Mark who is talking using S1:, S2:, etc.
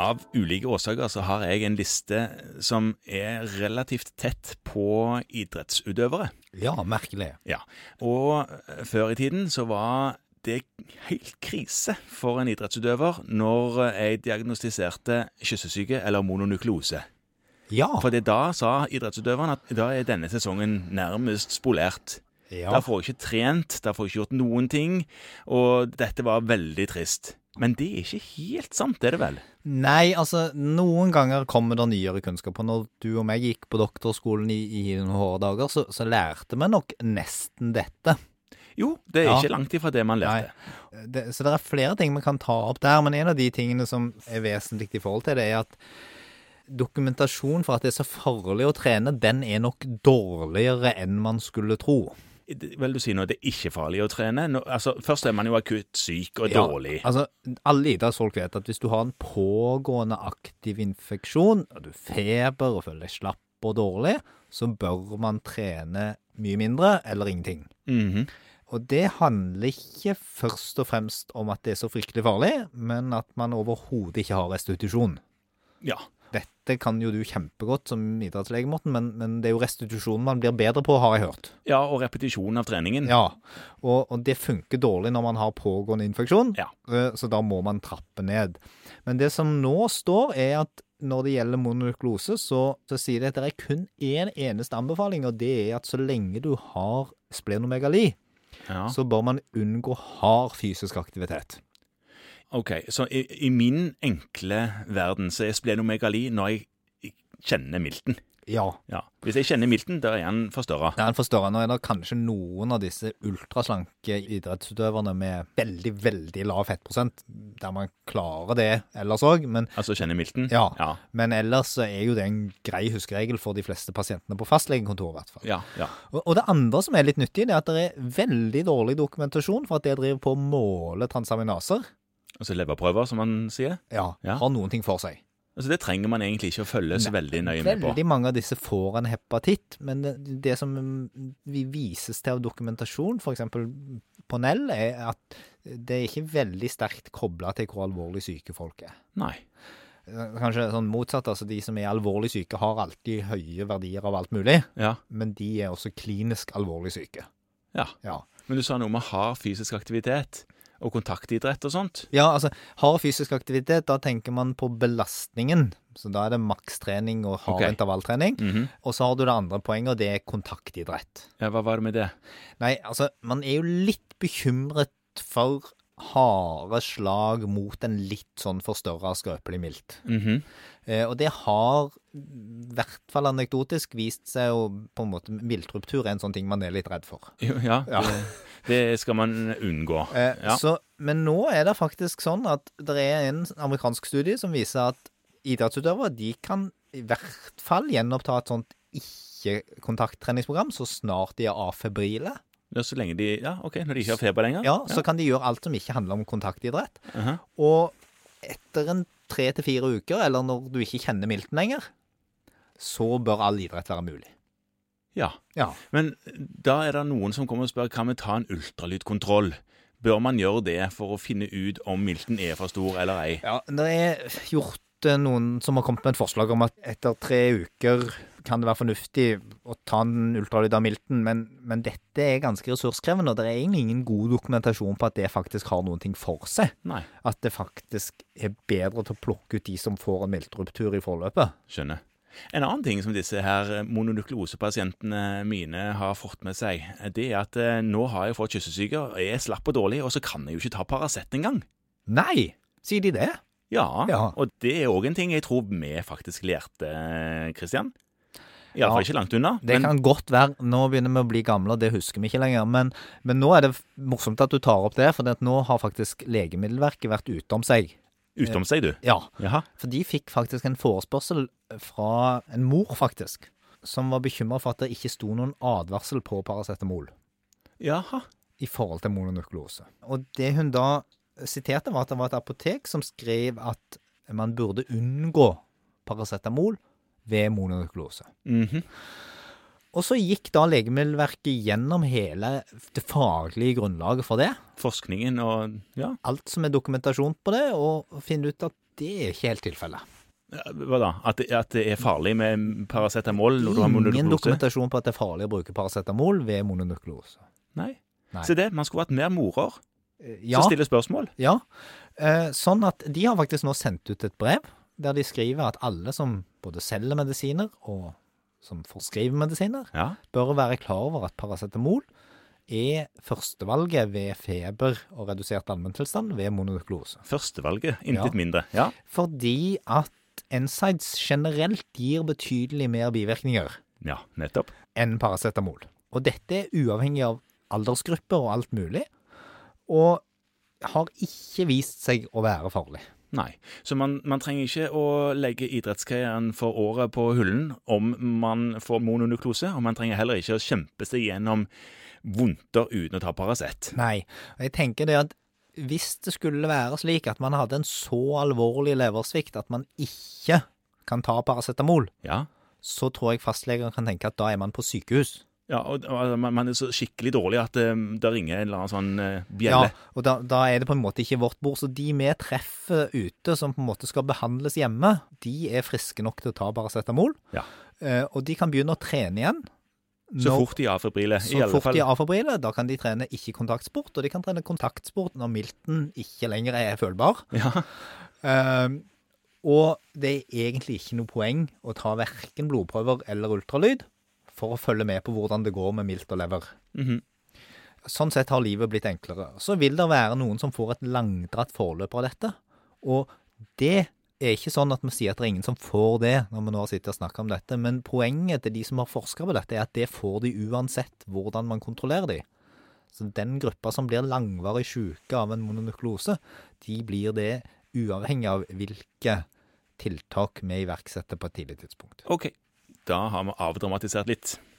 S1: av ulike årsaker så har jeg en liste som er relativt tett på idrettsutøvere.
S2: Ja, merkelig.
S1: Ja. Og eh, før i tiden så var det helt krise for en idrettsutøver når eh, jeg diagnostiserte kyssesyke eller mononukleose.
S2: Ja.
S1: For det da sa idrettsutøveren at da er denne sesongen nærmest spolert.
S2: ja.
S1: Da får jeg ikke trent, da får jeg ikke gjort noen ting, og dette var veldig trist. Men det er ikke helt sant, er det vel?
S2: Nei, altså, noen ganger kommer det nyere kunnskap. Og når du og meg gikk på doktorskolen i, i noen hårde dager, så, så lærte vi nok nesten dette.
S1: Jo, det er
S2: Ja.
S1: ikke langt ifra det man lærte.
S2: Nei. Det, så det er flere ting vi kan ta opp der, men en av de tingene som er vesentlig i forhold til det, er at dokumentasjon for at det er så farlig å trene, den er nok dårligere enn man skulle tro.
S1: Det- Vel, du sier nå det er ikke farlig å trene. Nå, altså, først er man jo akutt syk og dårlig.
S2: Ja, altså, alle idrettsfolk vet at hvis du har en pågående aktiv infeksjon, og du feber og føler deg slapp og dårlig, så bør man trene mye mindre eller ingenting.
S1: Mhm.
S2: Og det handler ikke først og fremst om at det er så fryktelig farlig, men at man overhodet ikke har restitusjon.
S1: Ja.
S2: Dette kan jo du kjempegodt som idrettslege, Morten, men, men det er jo restitusjonen man blir bedre på, har jeg hørt.
S1: ja, og repetisjon av treningen.
S2: Ja, og, og det funker dårlig når man har pågående infeksjon,
S1: Ja.
S2: eh, så da må man trappe ned. Men det som nå står, er at når det gjelder mononukleose, så, så sier det at det er kun én eneste anbefaling, og det er at så lenge du har splenomegali,
S1: Ja.
S2: så bør man unngå hard fysisk aktivitet.
S1: Ok, så i, i min enkle verden så er splenomegali når jeg jeg kjenner milten.
S2: Ja.
S1: Ja. Hvis jeg kjenner milten, da er han forstørra.
S2: Det er en forstørrende, og det er kanskje noen av disse ultraslanke idrettsutøverne med veldig, veldig lav fettprosent, der man klarer det ellers òg, men,
S1: Altså kjenner milten?
S2: Ja.
S1: Ja.
S2: men ellers så er jo det en grei huskeregel for de fleste pasientene på fastlegekontoret, i hvert fall.
S1: ja, ja.
S2: Og, og det andre som er litt nyttig, det er at det er veldig dårlig dokumentasjon for at det driver på å måle transaminaser,
S1: Altså leverprøver, som man sier.
S2: ja,
S1: Ja.
S2: har noen ting for seg.
S1: Altså Det trenger man egentlig ikke å følge så veldig nøye med på.
S2: Veldig mange av disse får en hepatitt, men det, det som mm, vi vises til av dokumentasjon, f.eks. på Nell, er at det er ikke veldig sterkt kobla til hvor alvorlig syke folk er.
S1: Nei.
S2: Kanskje sånn motsatt, altså de som er alvorlig syke har alltid høye verdier av alt mulig,
S1: Ja.
S2: men de er også klinisk alvorlig syke.
S1: ja.
S2: Ja.
S1: Men du sa noe om hard fysisk aktivitet og kontaktidrett og sånt.
S2: Ja, altså, hard fysisk aktivitet, da tenker man på belastningen. Så da er det makstrening og hard
S1: Ok.
S2: intervalltrening.
S1: Mhm.
S2: Og så har du det andre poenget, og det er kontaktidrett.
S1: Ja, Hva var det med det?
S2: Nei, altså, man er jo litt bekymret for harde slag mot en litt sånn forstørra, skrøpelig mildt.
S1: Mhm.
S2: Eh, og det har, i hvert fall anekdotisk, vist seg å på en måte Viltruptur er en sånn ting man er litt redd for. Eh,
S1: Jo, ja,
S2: Ja.
S1: Det, det skal man unngå.
S2: Eh,
S1: Ja.
S2: så, men nå er det faktisk sånn at det er en amerikansk studie som viser at idrettsutøvere de kan i hvert fall gjenoppta et sånt ikke-kontakttreningsprogram så snart de er afebrile.
S1: Ja, så lenge de Ja, OK, når de ikke har feber lenger?
S2: Ja, så kan de gjøre alt som ikke handler om kontaktidrett.
S1: Aha.
S2: Og etter en tre til fire uker, eller når du ikke kjenner milten lenger, så bør all idrett være mulig.
S1: ja.
S2: Ja.
S1: Men da er det noen som kommer og spør kan vi ta en ultralydkontroll. Bør man gjøre det for å finne ut om milten er for stor eller ei?
S2: ja det er gjort eh, noen som har kommet med et forslag om at etter tre uker kan det være fornuftig å ta en ultralyd av milten, men, men dette er ganske ressurskrevende, og det er egentlig ingen god dokumentasjon på at det faktisk har noen ting for seg.
S1: Nei.
S2: At det faktisk er bedre til å plukke ut de som får en miltruptur i forløpet.
S1: Skjønner. En annen ting som disse her mononukleosepasientene mine har fått med seg, det er at eh, nå har jeg fått kyssesyke, og jeg er slapp og dårlig, og så kan jeg jo ikke ta Paracet engang.
S2: Nei, sier de det?
S1: Ja,
S2: Ja.
S1: og det er òg en ting jeg tror vi faktisk lærte, Kristian. Iallfall
S2: Ja.
S1: ikke langt unna.
S2: Det
S1: men-
S2: kan godt være. Nå begynner vi å bli gamle, og det husker vi ikke lenger. Men, men nå er det f- morsomt at du tar opp det, for det at nå har faktisk Legemiddelverket vært ute om seg.
S1: Utom seg, du.
S2: Ja,
S1: Jaha.
S2: for de fikk faktisk en forespørsel eh, fra en mor, faktisk, som var bekymra for at det ikke sto noen advarsel på paracetamol
S1: Jaha.
S2: i forhold til mononukleose. Og det hun da siterte, var at det var et apotek som skrev at man burde unngå paracetamol ved mononukleose.
S1: Mhm.
S2: Og så gikk da Legemiddelverket gjennom hele det faglige grunnlaget for det.
S1: Forskningen og Ja.
S2: Alt som er dokumentasjon på det, og finne ut at det er ikke helt tilfellet.
S1: Ja, Hva da? At det, at det er farlig med paracetamol når du har
S2: Ingen
S1: mononukleose?
S2: dokumentasjon på at det er farlig å bruke paracetamol ved mononukleose.
S1: Nei.
S2: Nei.
S1: Se det, man skulle vært mer morer
S2: Eh,
S1: som stiller spørsmål.
S2: Ja. Eh, Sånn at de har faktisk nå sendt ut et brev der de skriver at alle som både selger medisiner og som forskriver medisiner,
S1: Ja.
S2: bør være klar over at paracetamol er førstevalget ved feber og redusert allmenntilstand ved mononukleose.
S1: Førstevalget, intet
S2: Ja.
S1: mindre. Ja.
S2: Fordi at NSAIDs generelt gir betydelig mer bivirkninger
S1: ja, nettopp.
S2: enn paracetamol. Og dette er uavhengig av aldersgrupper og alt mulig, og har ikke vist seg å være farlig.
S1: Nei. Så man, man trenger ikke å legge idrettskarrieren for året på hyllen om man får mononukleose, og man trenger heller ikke å kjempe seg gjennom vondter uten å ta Paracet.
S2: Nei. og Jeg tenker det at hvis det skulle være slik at man hadde en så alvorlig leversvikt at man ikke kan ta paracetamol,
S1: Ja.
S2: så tror jeg fastleger kan tenke at da er man på sykehus.
S1: ja og, og man, man er så skikkelig dårlig at eh, det ringer en eller annen sånn eh,
S2: Ja,
S1: bjelle.
S2: og da, da er det på en måte ikke vårt bord. Så de vi treffer ute, som på en måte skal behandles hjemme, de er friske nok til å ta paracetamol.
S1: Ja.
S2: Eh, Og de kan begynne å trene igjen.
S1: Så
S2: når-
S1: fort de er afebrile.
S2: så
S1: I alle
S2: fort
S1: fall.
S2: de er avforbrile. Da kan de trene ikke-kontaktsport, og de kan trene kontaktsport når milten ikke lenger er følbar.
S1: Ja.
S2: Ehm, og det er egentlig ikke noe poeng å ta verken blodprøver eller ultralyd for å følge med på hvordan det går med milt og lever.
S1: Mhm.
S2: Sånn sett har livet blitt enklere. Så vil det være noen som får et langdratt forløp av dette. Og det er ikke sånn at vi sier at det er ingen som får det, når vi nå har sittet og snakket om dette. Men poenget til de som har forska på dette, er at det får de uansett hvordan man kontrollerer de. Så den gruppa som blir langvarig syke av en mononukleose, de blir det uavhengig av hvilke tiltak vi iverksetter på et tidlig tidspunkt.
S1: OK. Da har vi avdramatisert litt.